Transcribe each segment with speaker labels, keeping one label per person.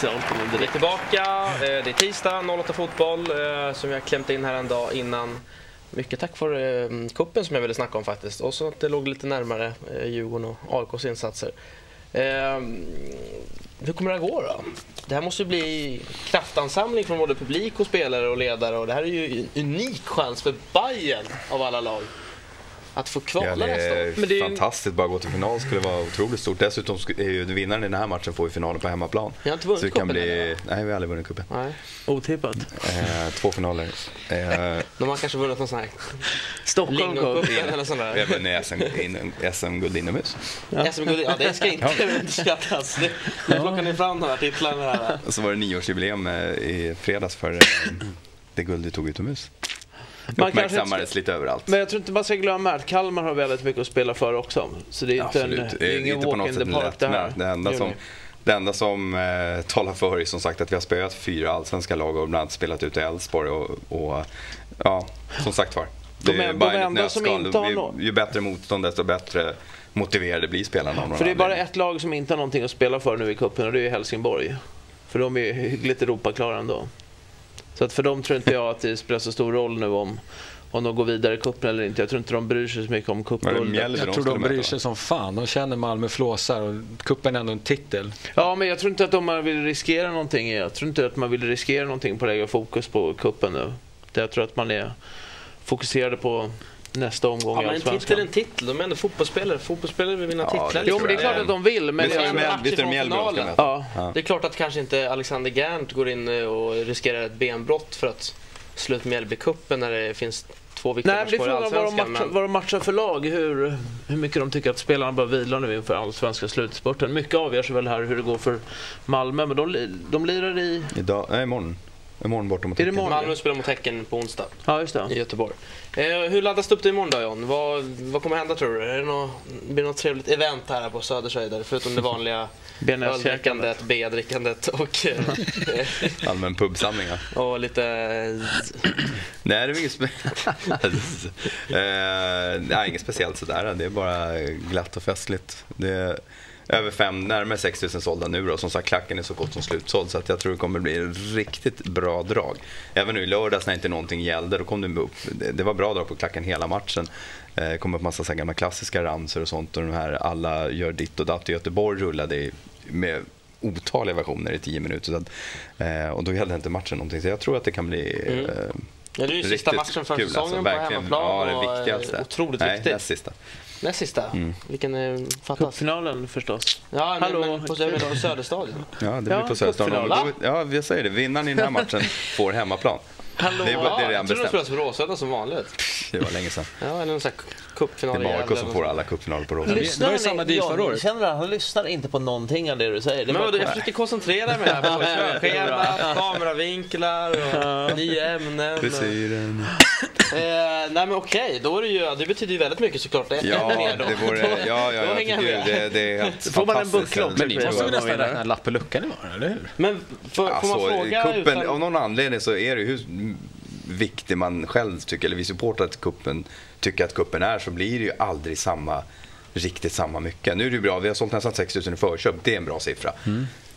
Speaker 1: Så kommer
Speaker 2: Vi är
Speaker 1: direkt.
Speaker 2: tillbaka. Eh, Det är tisdag, 08 Fotboll, eh, som jag klämt in här en dag innan. Mycket tack för eh, kuppen som jag ville snacka om faktiskt. Och så att det låg lite närmare eh, Djurgården och AIKs insatser. Eh, Hur kommer det här gå då? Det här måste ju bli kraftansamling från både publik och spelare och ledare. Och det här är ju en unik chans för Bayern av alla lag att få kvala
Speaker 3: Ja, det
Speaker 2: nästa år.
Speaker 3: är
Speaker 1: Men det är ju-
Speaker 3: fantastiskt. Bara gå till final skulle vara otroligt stort. Dessutom sk- är ju vinnaren i den här matchen får ju finalen på hemmaplan.
Speaker 2: Vi har inte vunnit
Speaker 3: Så det
Speaker 2: cupen
Speaker 3: kan bli...
Speaker 2: heller,
Speaker 3: Nej, vi har aldrig vunnit cupen.
Speaker 2: Nej.
Speaker 1: Otippat.
Speaker 3: Eh, två finaler. Eh,
Speaker 2: De har kanske vunnit någon sån här
Speaker 1: Stockholm kom.
Speaker 2: lingoncupen eller sån
Speaker 3: vi
Speaker 2: där.
Speaker 3: har vunnit SM in- SM-guld inomhus.
Speaker 2: Ja. SM-guld, ja det ska inte underskattas. Det- Nu plockar ni fram de här titlarna här.
Speaker 3: Och så var det nioårsjubileum eh, i fredags för eh, det guld vi tog utomhus. Det
Speaker 1: Man kanske inte
Speaker 3: uppmärksammades lite överallt.
Speaker 1: Men jag tror inte man ska glömma att Kalmar har väldigt mycket att spela för också. Så det är inte, en,
Speaker 3: Absolut.
Speaker 1: det är ingen
Speaker 3: inte på
Speaker 1: walk
Speaker 3: något
Speaker 1: in
Speaker 3: sätt
Speaker 1: the park
Speaker 3: lätt.
Speaker 1: det här.
Speaker 3: Nej, Det enda som, det enda som eh, talar för är som sagt att vi har spöat fyra allsvenska lag och bland annat spelat ut Elfsborg. Och, och, ja, som sagt var.
Speaker 1: De
Speaker 3: det är
Speaker 1: en- de
Speaker 3: Bayern i ett
Speaker 1: enda som
Speaker 3: nötskal.
Speaker 1: inte har
Speaker 3: Ju-
Speaker 1: någon-
Speaker 3: Ju bättre motstånd desto bättre motiverade blir spelarna. av någon
Speaker 1: För det är bara
Speaker 3: anledning.
Speaker 1: ett lag som inte har någonting att spela för nu i cupen och det är ju Helsingborg. För de är ju hyggligt Europaklara ändå. Så att för dem tror inte jag att det spelar så stor roll nu om, om de går vidare i cupen eller inte. Jag tror inte de bryr sig så mycket om
Speaker 3: Var det
Speaker 1: cupguldet.
Speaker 3: Mjällby
Speaker 4: Jag tror
Speaker 3: skulle
Speaker 4: de
Speaker 3: möta,
Speaker 4: bryr
Speaker 3: va?
Speaker 4: sig som fan. De känner Malmö flåsar och cupen är ändå en titel.
Speaker 1: Ja, men jag tror inte att de vill riskera någonting. Jag tror inte att man vill riskera någonting på att lägga fokus på cupen nu. Det- Jag tror att man är fokuserade på nästa omgång
Speaker 2: Ja, men
Speaker 1: i
Speaker 2: en
Speaker 1: Allsvenskan.
Speaker 2: titel är en titel, de är ändå fotbollsspelare. Fotbollsspelare vill vinna
Speaker 3: Ja, det
Speaker 2: titlar. liksom.
Speaker 3: tror
Speaker 1: Jo, men det är
Speaker 3: jag.
Speaker 1: klart att de vill. Men
Speaker 3: Visst är
Speaker 2: jag-
Speaker 3: det
Speaker 1: jag,
Speaker 3: Mjällby- visst är det
Speaker 2: Match
Speaker 3: Mjällby de ska
Speaker 2: från
Speaker 3: möta?
Speaker 1: ja.
Speaker 2: Det är klart att kanske inte Alexander Gernt går in eh, och riskerar ett benbrott för att sluta med Mjällbycupen när det finns två viktiga
Speaker 1: Nej, men det är
Speaker 2: matcher kvar i
Speaker 1: frågan vad de,
Speaker 2: Allsvenskan.
Speaker 1: matchar,
Speaker 2: Men
Speaker 1: vad de matchar för lag. Hur, hur mycket de tycker att spelarna bör vila nu inför allsvenska slutspurten. Mycket avgörs väl här hur det går för Malmö, men de, li- de lirar i...
Speaker 3: Idag, nej, imorgon. Imorgon bortom mot
Speaker 1: Är det
Speaker 3: Häcken.
Speaker 1: imorgon?
Speaker 2: Malmö spelar mot Häcken på onsdag
Speaker 1: Ja, just det.
Speaker 2: i Göteborg. Eh, hur laddas det upp till imorgon då John? Vad, vad kommer hända tror du? Är det något, blir det något trevligt event här på Södershöjden? Förutom det vanliga
Speaker 1: Benäskäkandet.
Speaker 2: öldrickandet, bedrickandet och, eh,
Speaker 3: Allmän pubsamling. ja.
Speaker 2: och lite
Speaker 3: Nej, det är inget, spe- Eh, nej, inget speciellt sådär. Det är bara glatt och festligt. Det är över fem, närmare 6 000 sålda nu då. Som sagt, klacken är så gott som slutsåld. Så att jag tror det kommer bli riktigt bra drag. Även nu i lördags när inte någonting gällde. Då kom det upp. det- Det var bra drag på klacken hela matchen. Eh, kom upp massa så här gamla klassiska ramsor och sånt. Och de här alla gör ditt och datt i Göteborg rullade i, med otaliga versioner i tio minuter. Så att, eh, och då gällde inte matchen någonting. Så jag tror att det kan bli
Speaker 2: Mm.
Speaker 3: eh,
Speaker 2: Ja, det är ju sista
Speaker 3: Riktigt
Speaker 2: matchen för
Speaker 3: kul,
Speaker 2: säsongen
Speaker 3: alltså,
Speaker 2: på
Speaker 3: verkligen.
Speaker 2: hemmaplan.
Speaker 3: Ja,
Speaker 2: och,
Speaker 3: det Mm.
Speaker 2: eh,
Speaker 3: viktigaste.
Speaker 2: Otroligt
Speaker 3: Nej,
Speaker 2: viktigt.
Speaker 3: näst sista.
Speaker 2: Näst sista. Vilken eh, fattas?
Speaker 1: Cupfinalen förstås.
Speaker 2: Ja, nej,
Speaker 1: Hallå.
Speaker 2: men på, jag menar på Söderstadion.
Speaker 3: Ja, det blir
Speaker 1: Ja,
Speaker 3: på Söderstadion.
Speaker 2: cupfinal.
Speaker 3: Då- Ja, jag säger det. Vinnaren i den här matchen får hemmaplan.
Speaker 1: Hallå.
Speaker 3: Det är bara- det är
Speaker 2: jag
Speaker 3: redan
Speaker 2: tror de
Speaker 3: bestämt.
Speaker 2: spelas på Råsunda som vanligt.
Speaker 3: Det var länge sedan.
Speaker 2: Ja, eller någon sån här
Speaker 3: Det
Speaker 2: cupfinal
Speaker 3: är
Speaker 2: i
Speaker 3: bara
Speaker 2: Gävle
Speaker 3: AIK som
Speaker 2: eller
Speaker 3: får
Speaker 2: något
Speaker 3: alla cupfinaler på Råsunda.
Speaker 4: Lyssnar Det var ju samma ni- deal förra året.
Speaker 1: Känner han, han lyssnar inte på någonting av det du säger. Det
Speaker 2: sånt.
Speaker 1: är
Speaker 2: Men
Speaker 1: bara-
Speaker 2: vadå, jag försöker koncentrera mig här på körschema, kameravinklar och nya ämnen.
Speaker 3: Frisyren.
Speaker 2: Eh, nej men okej, då är det ju, det betyder ju väldigt mycket såklart. Det är ett
Speaker 3: Ja,
Speaker 2: mer då.
Speaker 3: det vore... Ja, ja,
Speaker 2: då
Speaker 3: jag
Speaker 2: hänger
Speaker 3: tycker
Speaker 2: jag
Speaker 3: ju
Speaker 2: med.
Speaker 3: det, det är helt
Speaker 1: Får man en
Speaker 3: fantastiskt.
Speaker 1: buckla också,
Speaker 4: Men ni
Speaker 1: tror jag.
Speaker 4: måste väl
Speaker 1: Ja,
Speaker 4: nästan
Speaker 1: vad är det?
Speaker 4: räkna en lapp i luckan imorgon, eller hur?
Speaker 2: Men får, får man
Speaker 3: Alltså,
Speaker 2: fråga
Speaker 3: kuppen,
Speaker 2: utan...
Speaker 3: av någon anledning så är det ju hur viktig man själv tycker, eller vi supportrar att kuppen tycker att kuppen är, så blir det ju aldrig samma, riktigt samma mycket. Nu är det ju bra, vi har sålt nästan 6 000 i förköp, det är en bra siffra.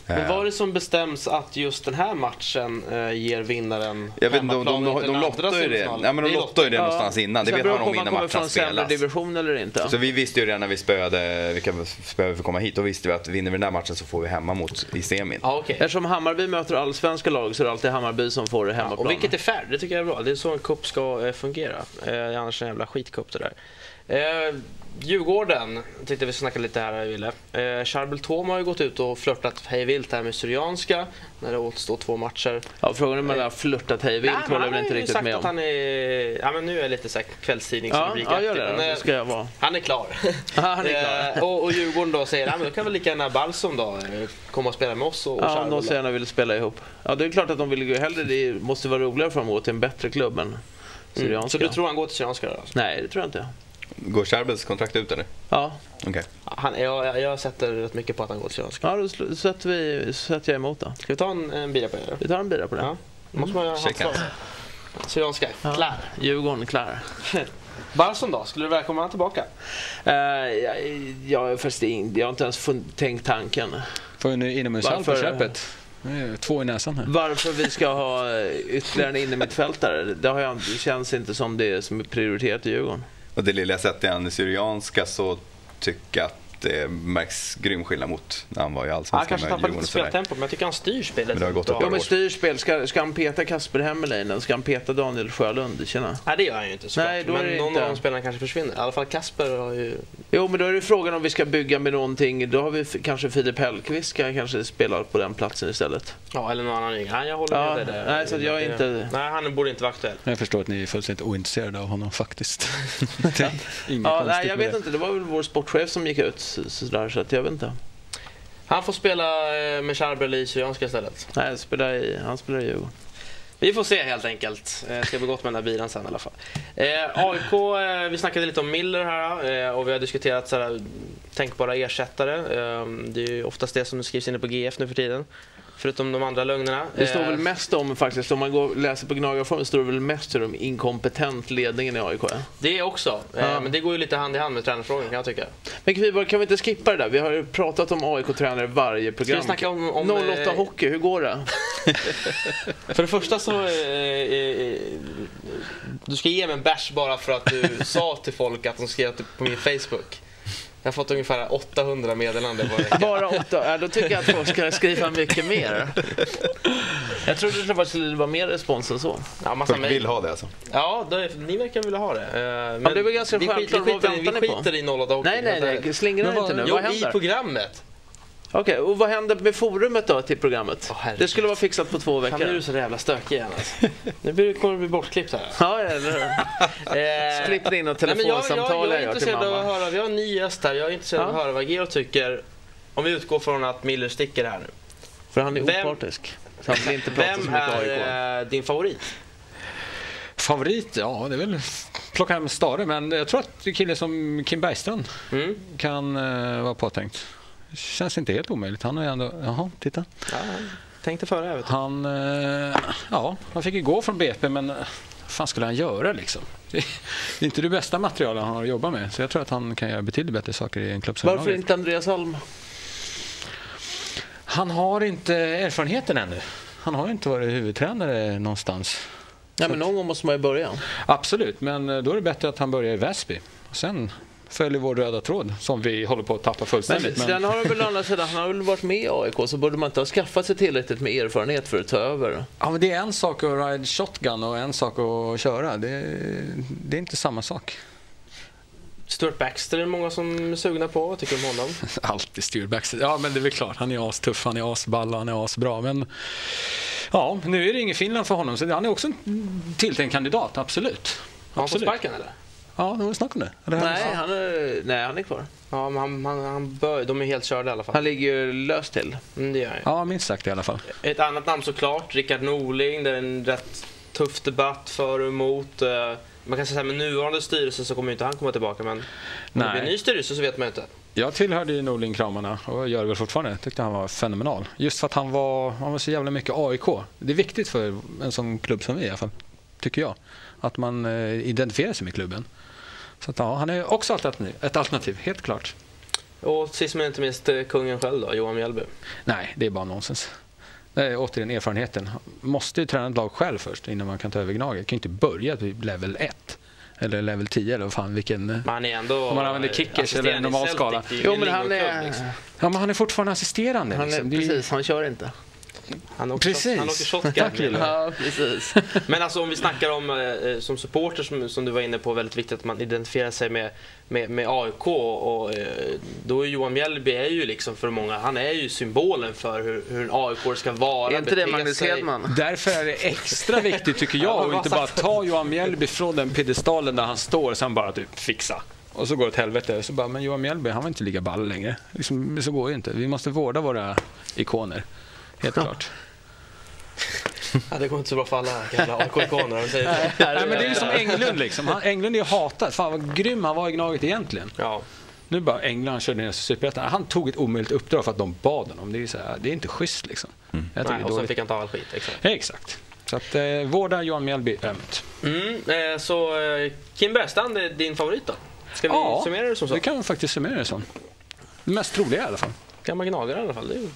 Speaker 2: Men vad är det som bestäms att just den här matchen eh, ger vinnaren
Speaker 3: Jag vet inte, de, de,
Speaker 2: hemmaplan och inte
Speaker 3: de, de
Speaker 2: den andra
Speaker 3: lottar ju det.
Speaker 2: semifinalen?
Speaker 3: Ja, men de
Speaker 2: Det är
Speaker 3: lottar ju det
Speaker 1: Ja.
Speaker 3: någonstans innan. Det
Speaker 1: Sen
Speaker 3: vet
Speaker 1: beror
Speaker 3: man om
Speaker 1: på
Speaker 3: innan
Speaker 1: kommer
Speaker 3: matchen
Speaker 1: från sämre
Speaker 3: spelas.
Speaker 1: division eller inte.
Speaker 3: Så vi visste ju redan när vi spöade vilka vi spöade för att komma hit. Då visste vi att vinner vi den här matchen så får vi hemma mot i semin.
Speaker 2: Ja, okej.
Speaker 1: Eftersom Hammarby möter allsvenska lag så är det alltid Hammarby som får det
Speaker 2: Ja,
Speaker 1: hemmaplan.
Speaker 2: och vilket är fair, det tycker jag är bra. Det är så en cup ska eh, fungera. Eh, annars är det en jävla skitcup det där. Eh, Djurgården tänkte vi snacka lite här Wille. Eh, Charbel Thoma har ju gått ut och flörtat hej vilt här med Syrianska när det återstår två matcher.
Speaker 1: Ja, frågan är om han har flörtat hej vilt håller jag väl inte riktigt
Speaker 2: sagt
Speaker 1: med
Speaker 2: att
Speaker 1: om.
Speaker 2: han är... Ja men nu är jag lite såhär
Speaker 1: Ja,
Speaker 2: kvällstidningsrubrik eh,
Speaker 1: ja, gör det då. Det ska jag vara.
Speaker 2: Han är klar.
Speaker 1: Ja, han är klar.
Speaker 2: Eh, och, och Djurgården då säger, ja men då kan väl lika gärna Balsam då eh, komma och spela med oss och, och
Speaker 1: Ja, om
Speaker 2: Charbel
Speaker 1: de
Speaker 2: då."
Speaker 1: så gärna vill spela ihop. Ja, det är klart att de vill gå hellre. Det måste vara roligare för dem att gå till en bättre klubb än
Speaker 2: Mm. Så
Speaker 1: Syrianska.
Speaker 2: du tror han går till Syrianska då? Alltså?
Speaker 1: Nej, det tror jag inte.
Speaker 3: Går Sherbels kontrakt ut eller?
Speaker 1: Ja,
Speaker 3: Okej.
Speaker 2: Han, jag, jag, jag sätter rätt mycket på att han går till Syrianska.
Speaker 1: ja då sl- sätter, vi, sätter jag emot då.
Speaker 2: Ska vi ta en, en bira på det?
Speaker 1: Vi tar en bira på det.
Speaker 2: Ja. Måste man göra
Speaker 3: Checka.
Speaker 2: handslag? Syrianska,
Speaker 1: Ja.
Speaker 2: klar.
Speaker 1: Djurgården, klar.
Speaker 2: Barson då, skulle du välkomna honom tillbaka?
Speaker 1: Eh, jag, jag, är faktiskt in- jag har inte ens fun- tänkt tanken.
Speaker 4: Får ju nu inomhushall på
Speaker 1: Varför?
Speaker 4: köpet. Nu är det Två i näsan här.
Speaker 1: Varför vi ska ha eh, ytterligare en innermittfältare, det, har jag, det känns inte som det som är prioriterat i Djurgården.
Speaker 3: Och det lilla jag sett i han i Syrianska så tycker jag att det märks grym skillnad mot när han var i
Speaker 2: Han
Speaker 3: Allsvenskan
Speaker 2: kanske
Speaker 3: med
Speaker 2: tappar
Speaker 3: Djurgården.
Speaker 2: lite
Speaker 3: och sådär.
Speaker 2: speltempo, men jag tycker han styr spelet.
Speaker 3: Men det har gått
Speaker 2: bra.
Speaker 3: åt
Speaker 1: Ja, men
Speaker 3: Hårt.
Speaker 1: styrspel, ska, ska han peta Kasper Hemmerleinen? Ska han peta Daniel Sjölund? Tjena.
Speaker 2: Nej, det gör han ju inte såklart.
Speaker 1: Nej, då är
Speaker 2: men
Speaker 1: det
Speaker 2: någon
Speaker 1: inte.
Speaker 2: av de spelarna kanske försvinner. I alla fall Kasper har ju...
Speaker 1: Jo, men då är det frågan om vi ska bygga med någonting. Då har vi f- kanske Filip Hellqvist ska kanske spela på den platsen istället.
Speaker 2: Ja, eller någon annan yngre. Nej, jag håller
Speaker 1: Ja,
Speaker 2: med dig där.
Speaker 1: nej, så att jag är inte-
Speaker 2: Nej, han borde inte vara aktuell.
Speaker 4: Jag förstår att ni är fullständigt ointresserade av honom faktiskt. Inget
Speaker 1: Ja,
Speaker 4: konstigt
Speaker 1: nej, jag
Speaker 4: med
Speaker 1: vet
Speaker 4: det.
Speaker 1: inte. Det var väl vår sportchef som gick ut så- sådär, så att jag vet inte.
Speaker 2: Han får spela eh, med Charbel i Syrianska istället.
Speaker 1: Nej, han spelar i, han spelar i Djurgården.
Speaker 2: Vi får se helt enkelt. Eh, ska bli gott med den här bilen sen i alla fall. Eh, AIK, eh, vi snackade lite om Miller här eh, och vi har diskuterat så här, tänkbara ersättare. Eh, det är ju oftast det som skrivs inne på GF nu för tiden. Förutom de andra lögnerna.
Speaker 1: Det står väl
Speaker 2: Eh,
Speaker 1: mest om faktiskt, om man går, läser på Gnagarforum, står det väl mest hur de inkompetent ledningen i AIK är.
Speaker 2: Det också. Eh,
Speaker 1: Ja.
Speaker 2: Men det går ju lite hand i hand med tränarfrågan kan jag tycka.
Speaker 1: Men Kviborg, kan vi inte skippa det där? Vi har ju pratat om AIK-tränare i varje
Speaker 2: Ska
Speaker 1: program.
Speaker 2: vi snacka om... om
Speaker 1: 08
Speaker 2: eh,
Speaker 1: Hockey, hur går det?
Speaker 2: För det första så... Eh, eh, du ska ge mig en bärs bara för att du sa till folk att de skrev typ på min Facebook. Jag har fått ungefär 800 meddelanden bara.
Speaker 1: Bara åtta? Ja, då tycker jag att folk ska skriva mycket mer. Jag trodde det faktiskt skulle vara mer respons än så.
Speaker 2: Ja, massa
Speaker 3: Folk
Speaker 2: mejl.
Speaker 3: vill ha det alltså.
Speaker 2: Ja, då är, ni verkar vilja ha det. Eh, Men
Speaker 1: det är väl ganska
Speaker 2: vi
Speaker 1: självklart,
Speaker 2: skiter- vi
Speaker 1: vad
Speaker 2: skiter i-
Speaker 1: väntar ni på?
Speaker 2: Vi skiter i 08 Hockey.
Speaker 1: Nej, nej, nej. Slingra
Speaker 4: Men
Speaker 1: dig inte
Speaker 4: vad-
Speaker 1: nu.
Speaker 2: Jo,
Speaker 1: Vad
Speaker 2: i
Speaker 1: händer?
Speaker 2: programmet.
Speaker 1: Okej, och vad händer med forumet då till programmet?
Speaker 2: Åh, herregud.
Speaker 1: det skulle vara fixat på
Speaker 2: Fan,
Speaker 1: två
Speaker 2: nu är du
Speaker 1: veckor.
Speaker 2: så jävla stökig igen alltså. Nu blir- kommer du bli bortklippt här.
Speaker 1: Ja, eller hur?
Speaker 2: Eh,
Speaker 1: Klipp in något
Speaker 2: Nej, men jag, jag,
Speaker 1: telefonsamtal
Speaker 2: jag är
Speaker 1: jag gör till
Speaker 2: intresserad av att
Speaker 1: mamma.
Speaker 2: höra, vi har en ny gäst här, jag är intresserad av att
Speaker 1: Ja.
Speaker 2: höra vad Georg tycker. Om vi utgår från att Miller sticker här nu.
Speaker 1: För han är
Speaker 2: Vem-
Speaker 1: opartisk. Så han vill inte prata så
Speaker 2: Vem
Speaker 1: mycket AIK.
Speaker 2: är eh, din favorit?
Speaker 4: Favorit? Ja, det är väl plocka hem Stare. Men jag tror att en kille som Kim Bergstrand
Speaker 2: Mm.
Speaker 4: kan eh, vara påtänkt. Känns inte helt omöjligt. Han har ju ändå... Jaha, titta.
Speaker 2: Ja, tänkte före här vet du.
Speaker 4: Han, eh, ja, han fick ju gå från BP, men eh, vad fan skulle han göra liksom? Det är inte det bästa materialet han har att jobba med, så jag tror att han kan göra betydligt bättre saker i en klubb som
Speaker 1: Varför
Speaker 4: Varför
Speaker 1: inte Andreas Alm?
Speaker 4: Han har inte erfarenheten ännu. Han har ju inte varit huvudtränare någonstans.
Speaker 1: Nej, men någon gång måste man ju börja.
Speaker 4: Absolut, men eh, då är det bättre att han börjar i Väsby. Och sen följer vår röda tråd, som vi håller på att tappa
Speaker 1: Men
Speaker 4: fullständigt. Men,
Speaker 1: sen har han väl å andra sidan, han har väl varit med i AIK, så borde man inte ha skaffat sig tillräckligt med erfarenhet för att ta över.
Speaker 4: ja, men det är en sak att ride shotgun och en sak att köra. Det, det är inte samma sak.
Speaker 2: Stuart Baxter är det många som är sugna på. Vad tycker du om honom?
Speaker 4: Alltid styrback. Ja, men det är väl klart. Han är astuff, han är asball, han är asbra. Men ja, nu är det ingen Finland för honom, så han är också en tilltänkt kandidat. Absolut.
Speaker 2: Har han fått
Speaker 4: Absolut.
Speaker 2: sparken eller?
Speaker 4: Ja, det var snack om det. Eller hur?
Speaker 1: Nej, han är, nej, han är kvar.
Speaker 2: Ja, men han, han, han bör, de är helt körda i alla fall.
Speaker 1: Han ligger ju löst till.
Speaker 2: Mm, det gör han ju.
Speaker 4: Ja, minst sagt i alla fall.
Speaker 2: Ett annat namn såklart, Rickard Norling. Det är en rätt tuff debatt för och emot. Eh, Man kan säga att med nuvarande styrelse så kommer ju inte han komma tillbaka men om det
Speaker 4: Nej.
Speaker 2: blir en ny styrelse så vet man ju inte.
Speaker 4: Jag tillhörde ju Norling-kramarna och gör det väl fortfarande. tyckte han var fenomenal. Just för att han var, han var så jävla mycket AIK. Det är viktigt för en sån klubb som vi i alla fall, tycker jag. Att man eh, identifierar sig med klubben. Så att, ja, han är också ett alternativ, ett alternativ, helt klart.
Speaker 2: Och sist men inte minst eh, kungen själv då, Johan Mjällby.
Speaker 4: Nej, det är bara nonsens. Det är återigen erfarenheten. Måste ju träna ett lag själv först innan man kan ta över Gnaget. Kan ju inte börja vid level 1. Eller level 10 eller vad fan vilken...
Speaker 2: Men han är ändå... eh,
Speaker 4: Om man använder kickers eller
Speaker 2: assisterande
Speaker 4: en normal
Speaker 2: i Celtic,
Speaker 4: skala.
Speaker 2: det är ju
Speaker 1: Jo,
Speaker 2: ingen
Speaker 1: men han
Speaker 2: ligaklubb,
Speaker 1: är...
Speaker 2: liksom.
Speaker 4: Ja men han är fortfarande assisterande.
Speaker 1: Han är
Speaker 4: liksom. Det är ju-
Speaker 1: precis, han kör inte.
Speaker 2: Han åker,
Speaker 4: Precis.
Speaker 2: shot, han åker shotgun.
Speaker 4: Tack, Lille.
Speaker 1: Ja, precis.
Speaker 2: Men alltså om vi snackar om eh, eh, som supporter som, som du var inne på, väldigt viktigt att man identifierar sig med, med, med AIK. Och, eh, då är Johan Mjällby är ju liksom för många, han är ju symbolen för hur, hur en AIK ska vara.
Speaker 1: Är inte det
Speaker 2: bete
Speaker 1: Magnus
Speaker 2: sig.
Speaker 1: Hedman?
Speaker 4: Därför är det extra viktigt tycker jag att inte bara ta Johan Mjällby från den piedestalen där han står och sen bara typ fixa. Och så går det åt helvete. Så bara, men Johan Mjällby han var inte lika ball längre. Liksom, så går det ju inte. Vi måste vårda våra ikoner. Helt klart.
Speaker 2: Ja, det går inte så bra för alla gamla AIK-ikoner om vi säger så.
Speaker 4: Nej, men det är ju som
Speaker 2: Eh.
Speaker 4: Englund liksom. Han, Englund är ju hatad. Fan vad grym han var i Gnaget egentligen.
Speaker 2: Ja.
Speaker 4: Nu bara England körde ner sig i Superettan. Han tog ett omöjligt uppdrag för att de bad honom. Det är, ju så här, det är inte schysst liksom. Jag tycker
Speaker 2: Mm. Nej,
Speaker 4: det
Speaker 2: och
Speaker 4: är
Speaker 2: sen
Speaker 4: dåligt.
Speaker 2: fick han ta all skit. Exakt.
Speaker 4: Ja, exakt. Så att eh, vårda Johan Mjällby ömt.
Speaker 2: Mm, eh, så eh, Kim Bergstrand är din favorit då? Ska vi summera det som så?
Speaker 4: det kan man faktiskt summera det som. Det mest troliga i alla fall.
Speaker 2: gammal gnagare i alla fall. Det är ju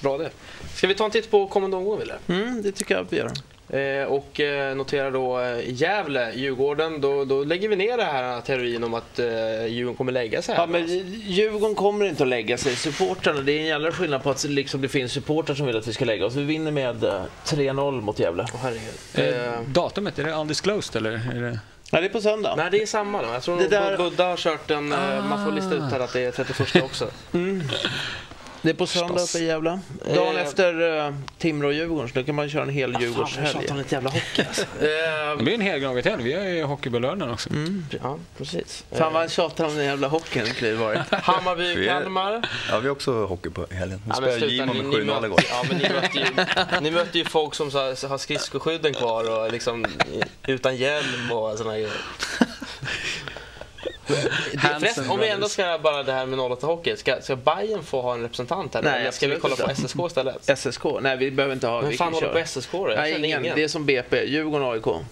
Speaker 2: bra det. Ska vi ta en titt på kommande omgång, Wille?
Speaker 1: Mm, det tycker jag att vi gör.
Speaker 2: Eh, och eh, notera då eh, Gävle, Djurgården. Då, då lägger vi ner den här teorin om att eh, Djurgården kommer lägga sig här.
Speaker 1: Ja, men Djurgården kommer inte att lägga sig. Supportrarna, det är en jävla skillnad på att liksom det finns supportrar som vill att vi ska lägga oss. Vi vinner med eh, 3-0 mot Gävle.
Speaker 2: Åh, herregud. Eh,
Speaker 4: Eh, datumet, är det undisclosed eller? Är det...
Speaker 1: Nej, det är på söndag.
Speaker 2: nej, det är samma då. Jag tror
Speaker 1: Det
Speaker 2: nog
Speaker 1: där-
Speaker 2: Budda har kört en... eh, Man får lista ut här att det är 31 också.
Speaker 1: Det är på söndag uppe i Gävle. Dagen
Speaker 2: Eh.
Speaker 1: efter eh, Timrå och Djurgården, så då kan man köra en hel
Speaker 2: Fan, jag
Speaker 1: Djurgårdshelg.
Speaker 2: tjatar om lite jävla hockey alltså. eh,
Speaker 4: Det blir en helgnagarhelg. Vi har ju hockey på lördagen också.
Speaker 2: Ja, precis. Eh,
Speaker 1: Fan vad han tjatar om den jävla hockeyn det blir varit.
Speaker 2: Hammarby,
Speaker 3: Vi är-
Speaker 2: Kalmar.
Speaker 3: Ja, vi har också hockey på helgen. Vi
Speaker 2: Ja, men
Speaker 3: spelade
Speaker 2: sluta,
Speaker 3: Gimo med
Speaker 2: ni- ni
Speaker 3: 7-0
Speaker 2: mötte-
Speaker 3: igår.
Speaker 2: Ja, men ni mötte ju, ni mötte ju folk som så här, har skridskoskydden kvar och liksom i- utan hjälm och sådana grejer.
Speaker 4: Hansen
Speaker 2: Förresten, om vi ändå ska bara det här med 08 hockey, ska, ska Bayern få ha en representant här?
Speaker 1: Nej,
Speaker 2: Eller ska vi
Speaker 1: absolut
Speaker 2: kolla på
Speaker 1: inte.
Speaker 2: SSK istället?
Speaker 1: SSK? Nej, vi behöver inte ha.
Speaker 2: Vem
Speaker 1: vi
Speaker 2: fan
Speaker 1: kan
Speaker 2: håller
Speaker 1: köra.
Speaker 2: på SSK då? Jag
Speaker 1: Nej,
Speaker 2: känner
Speaker 1: ingen. Det är som BP. Djurgården AIK. Okej,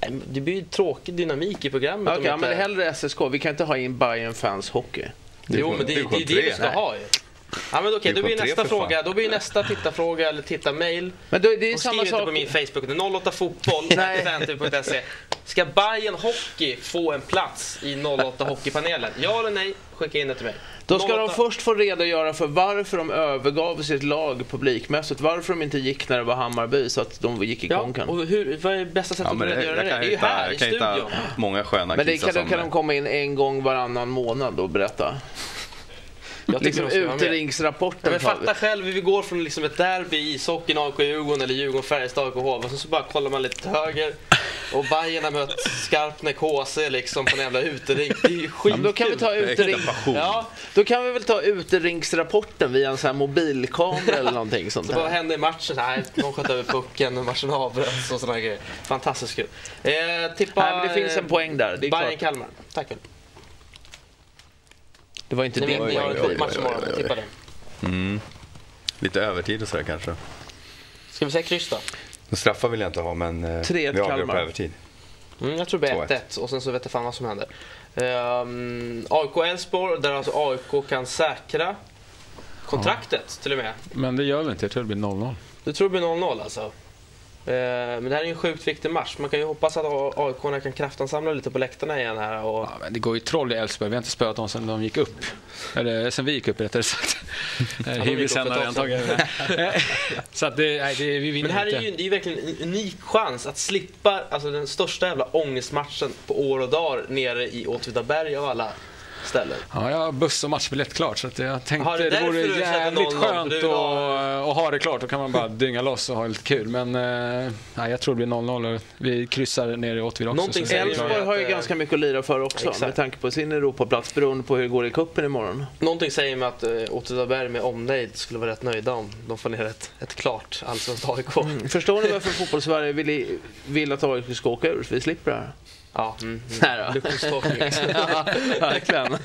Speaker 2: Nej, men Det blir ju tråkig dynamik i programmet. om
Speaker 1: ja,
Speaker 2: inte-
Speaker 1: men hellre SSK. Vi kan inte ha in Bayern fans hockey.
Speaker 2: Jo,
Speaker 3: får-
Speaker 2: men det, det,
Speaker 3: du
Speaker 2: är
Speaker 3: får
Speaker 2: ju det
Speaker 3: tre.
Speaker 2: vi ska
Speaker 3: Nej.
Speaker 2: ha ju. Ja, men okej,
Speaker 3: Du
Speaker 2: då
Speaker 3: får
Speaker 2: blir
Speaker 3: tre
Speaker 2: nästa
Speaker 3: för fan.
Speaker 2: fråga, då blir nästa tittarfråga eller tittarmail.
Speaker 1: Men då, det är
Speaker 2: Och
Speaker 1: samma
Speaker 2: skriv inte
Speaker 1: sak.
Speaker 2: på min Facebook, det är 08 fotboll
Speaker 1: Nej.
Speaker 2: fantasy.se. Ska Bayern Hockey få en plats i 08 Hockeypanelen? Ja eller nej? Skicka in det till mig.
Speaker 1: Då ska
Speaker 2: 08
Speaker 1: de först få redogöra för varför de övergav sitt lag publikmässigt. Varför de inte gick när det var Hammarby så att de gick i
Speaker 2: Ja,
Speaker 1: konkan.
Speaker 2: och hur, vad är bästa sättet
Speaker 3: Ja, men
Speaker 2: att
Speaker 3: det,
Speaker 2: göra
Speaker 3: jag
Speaker 2: det?
Speaker 3: kan
Speaker 2: Det är ju
Speaker 3: hitta,
Speaker 2: här i
Speaker 3: jag kan
Speaker 2: studion.
Speaker 3: hitta många sköna
Speaker 1: Men det
Speaker 3: kissar
Speaker 1: kan, då
Speaker 3: som-
Speaker 1: kan de komma in en gång varannan månad och berätta.
Speaker 2: Jag tycker
Speaker 1: Liksom
Speaker 2: de ska vara med. Ja,
Speaker 1: uteringsrapporten.
Speaker 2: men
Speaker 1: tar vi.
Speaker 2: fatta själv hur vi går från liksom ett derby i ishockeyn, AIK Djurgården eller Djurgården Färjestad AIK Hov och så, så bara kollar man lite till höger och Bayern har mött Skarpnäck HC liksom på en jävla utering. Det är ju
Speaker 1: Ja, men då kan vi
Speaker 2: skitkul.
Speaker 1: ta
Speaker 3: Äkta
Speaker 1: utering...
Speaker 3: passion.
Speaker 1: Ja, då kan vi väl ta uteringsrapporten via en sån här mobilkamera eller någonting sånt
Speaker 2: Så vad
Speaker 1: där.
Speaker 2: hände i matchen? Nej, de sköt över pucken och matchen avbröts och sådana grejer. Fantastiskt kul. Eh, tippa
Speaker 1: Nej, men det finns en poäng där. Det, är
Speaker 2: Bayern
Speaker 1: klart.
Speaker 2: Kalmar. Tack väl.
Speaker 1: det var inte
Speaker 2: Ni
Speaker 1: din
Speaker 2: vet, ni har
Speaker 1: poäng.
Speaker 2: en
Speaker 3: oj,
Speaker 2: kort match
Speaker 3: oj,
Speaker 2: imorgon.
Speaker 3: oj, oj, oj.
Speaker 2: Tippa den.
Speaker 3: Mm. Lite övertid och sådär kanske.
Speaker 2: Ska vi säga kryss då?
Speaker 3: Så Straffar vill jag inte ha, men eh, vi
Speaker 1: 3-1
Speaker 3: avgör på
Speaker 1: Kalmar.
Speaker 3: övertid.
Speaker 2: Mm, jag tror det blir
Speaker 3: 2-1.
Speaker 2: 1-1 och sen så vet jag fan vad som händer. Ehm, AIK Elfsborg, där alltså AIK kan säkra kontraktet till och med.
Speaker 4: Men det gör vi inte. Jag tror det blir 0-0.
Speaker 2: Du tror det blir 0-0 alltså? Ehm, men det här är ju en sjukt viktig match. Man kan ju hoppas att AIK kan kraftansamla lite på läktarna igen här. Och...
Speaker 4: Ja, men det går ju troll i Elfsborg. Vi har inte spöat dem sedan de gick upp. Eller sen vi gick upp rättare sagt. Eh,
Speaker 2: gick upp
Speaker 4: Hyvisen
Speaker 2: för
Speaker 4: har
Speaker 2: ett
Speaker 4: redan
Speaker 2: tag
Speaker 4: tagit över. Eh, Så att det, nej, det, vi vinner
Speaker 2: Men här
Speaker 4: inte.
Speaker 2: är ju, det är ju verkligen en unik chans att slippa alltså, den största jävla ångestmatchen på år och dagar nere i Åtvidaberg av alla ställen.
Speaker 4: Ja, jag har buss och matchbiljett klart så att jag tänkte
Speaker 2: Har du
Speaker 4: det,
Speaker 2: därför
Speaker 4: vore
Speaker 2: du köpte
Speaker 4: jävligt
Speaker 2: 0-0?
Speaker 4: skönt
Speaker 2: Du
Speaker 4: att att ha det klart. Då kan man bara dynga loss och ha lite kul. Men eh, nej, jag tror det blir 0-0 och vi kryssar ner i Åtvid också.
Speaker 2: Någonting
Speaker 4: så det är
Speaker 2: säger-
Speaker 4: klart.
Speaker 1: Elfsborg har ju
Speaker 2: att, eh,
Speaker 1: ganska mycket att lira för också
Speaker 2: exakt.
Speaker 1: med tanke på sin Europaplats beroende på hur det går i cupen imorgon.
Speaker 2: Någonting säger mig att eh, Åtvidaberg med omnejd skulle vara rätt nöjda om de får ner ett, ett klart allsvenskt AIK.
Speaker 1: Mm. Förstår ni varför fotbollssverige vill, i- vill att AIK ska åka ur? För vi slipper det här.
Speaker 2: Ja, mm,
Speaker 1: Nej
Speaker 2: mm.
Speaker 1: då.
Speaker 2: Luxustorkning.
Speaker 1: ja, verkligen.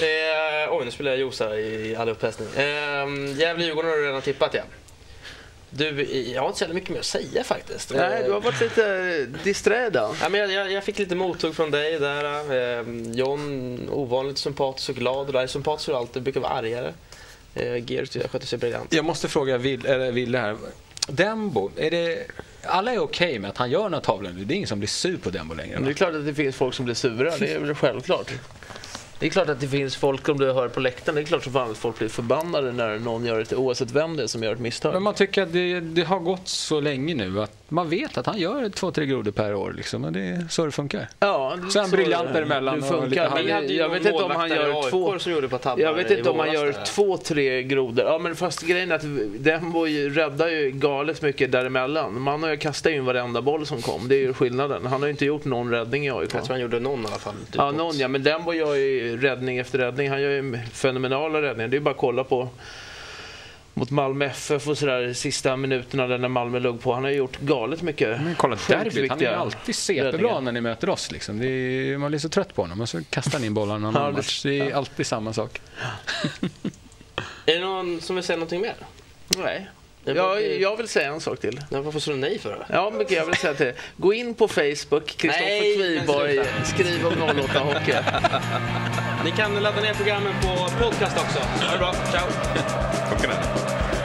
Speaker 2: eh, oj, nu spelar jag juice här i all upphästning. Eh, Gävle-Djurgården har du redan tippat ja. Du, eh, jag har inte så jävla mycket mer att säga faktiskt.
Speaker 1: Nej, du har varit lite disträ idag.
Speaker 2: Ja, men jag, jag, jag fick lite mothugg från dig där. Eh, John, ovanligt sympatisk och glad. Och där är sympatisk och alltid, brukar vara argare. Eh, Geert jag skötte sig briljant.
Speaker 4: Jag måste fråga Will, eller Wille här. Dembo, är det... Alla är okej med att han gör några tavlor nu. Det är ingen som blir sur på Dembo längre.
Speaker 1: Men
Speaker 4: va?
Speaker 1: Det är klart att det finns folk som blir sura, det är väl självklart. Det är klart att det finns folk, om du hör på läktaren, det är klart som fan att folk blir förbannade när någon gör ett, oavsett vem det är som gör ett
Speaker 4: Men
Speaker 1: misstag.
Speaker 4: man tycker att det, det har gått så länge nu att man vet att han gör två, tre grodor per år. Liksom, och det är så det funkar.
Speaker 1: Ja,
Speaker 4: Sen briljant däremellan
Speaker 1: Det
Speaker 4: och lite
Speaker 1: funkar.
Speaker 4: halv-
Speaker 1: Men jag, jag vet inte om han gör två...
Speaker 2: Som gjorde på tabbar
Speaker 1: Jag vet
Speaker 2: i
Speaker 1: inte om han
Speaker 2: våras
Speaker 1: gör
Speaker 2: där.
Speaker 1: två, tre grodor. Ja, men fast grejen är att Dembo ju- räddar ju galet mycket däremellan. Man har ju kastat in varenda boll som kom. Det är ju skillnaden. Han har ju inte gjort någon räddning i AIK.
Speaker 2: Jag tror han gjorde någon i alla fall. Typ
Speaker 1: Ja,
Speaker 2: åt-
Speaker 1: någon ja. Men Dembo gör ju räddning efter räddning. Han gör ju fenomenala räddningar. Det är bara att kolla på mot Malmö FF och sådär sista minuterna där när Malmö låg på. Han har ju gjort galet mycket.
Speaker 4: Men kolla
Speaker 1: Sjukt
Speaker 4: derbyt, han är ju
Speaker 1: viktiga
Speaker 4: alltid CP-bra
Speaker 1: räddningar.
Speaker 4: när ni möter oss. Liksom. Det är, man blir så trött på honom och så kastar ni in bollarna någon
Speaker 1: Ja,
Speaker 4: annan
Speaker 1: det-
Speaker 4: match. Det är alltid samma sak.
Speaker 2: Är det någon som vill säga någonting mer?
Speaker 1: Nej.
Speaker 2: Jag
Speaker 1: Jag,
Speaker 2: blir-
Speaker 1: jag vill säga en sak till.
Speaker 2: Nej, Varför sa du nej för det?
Speaker 1: Ja, mycket jag vill säga till. Gå in på Facebook,
Speaker 2: Nej,
Speaker 1: Kristoffer
Speaker 2: men
Speaker 1: Kviborg,
Speaker 2: sluta.
Speaker 1: skriv om 08 Hockey.
Speaker 2: Ni kan ladda ner programmen på podcast också. Ha det bra, ciao!
Speaker 3: Klockan är.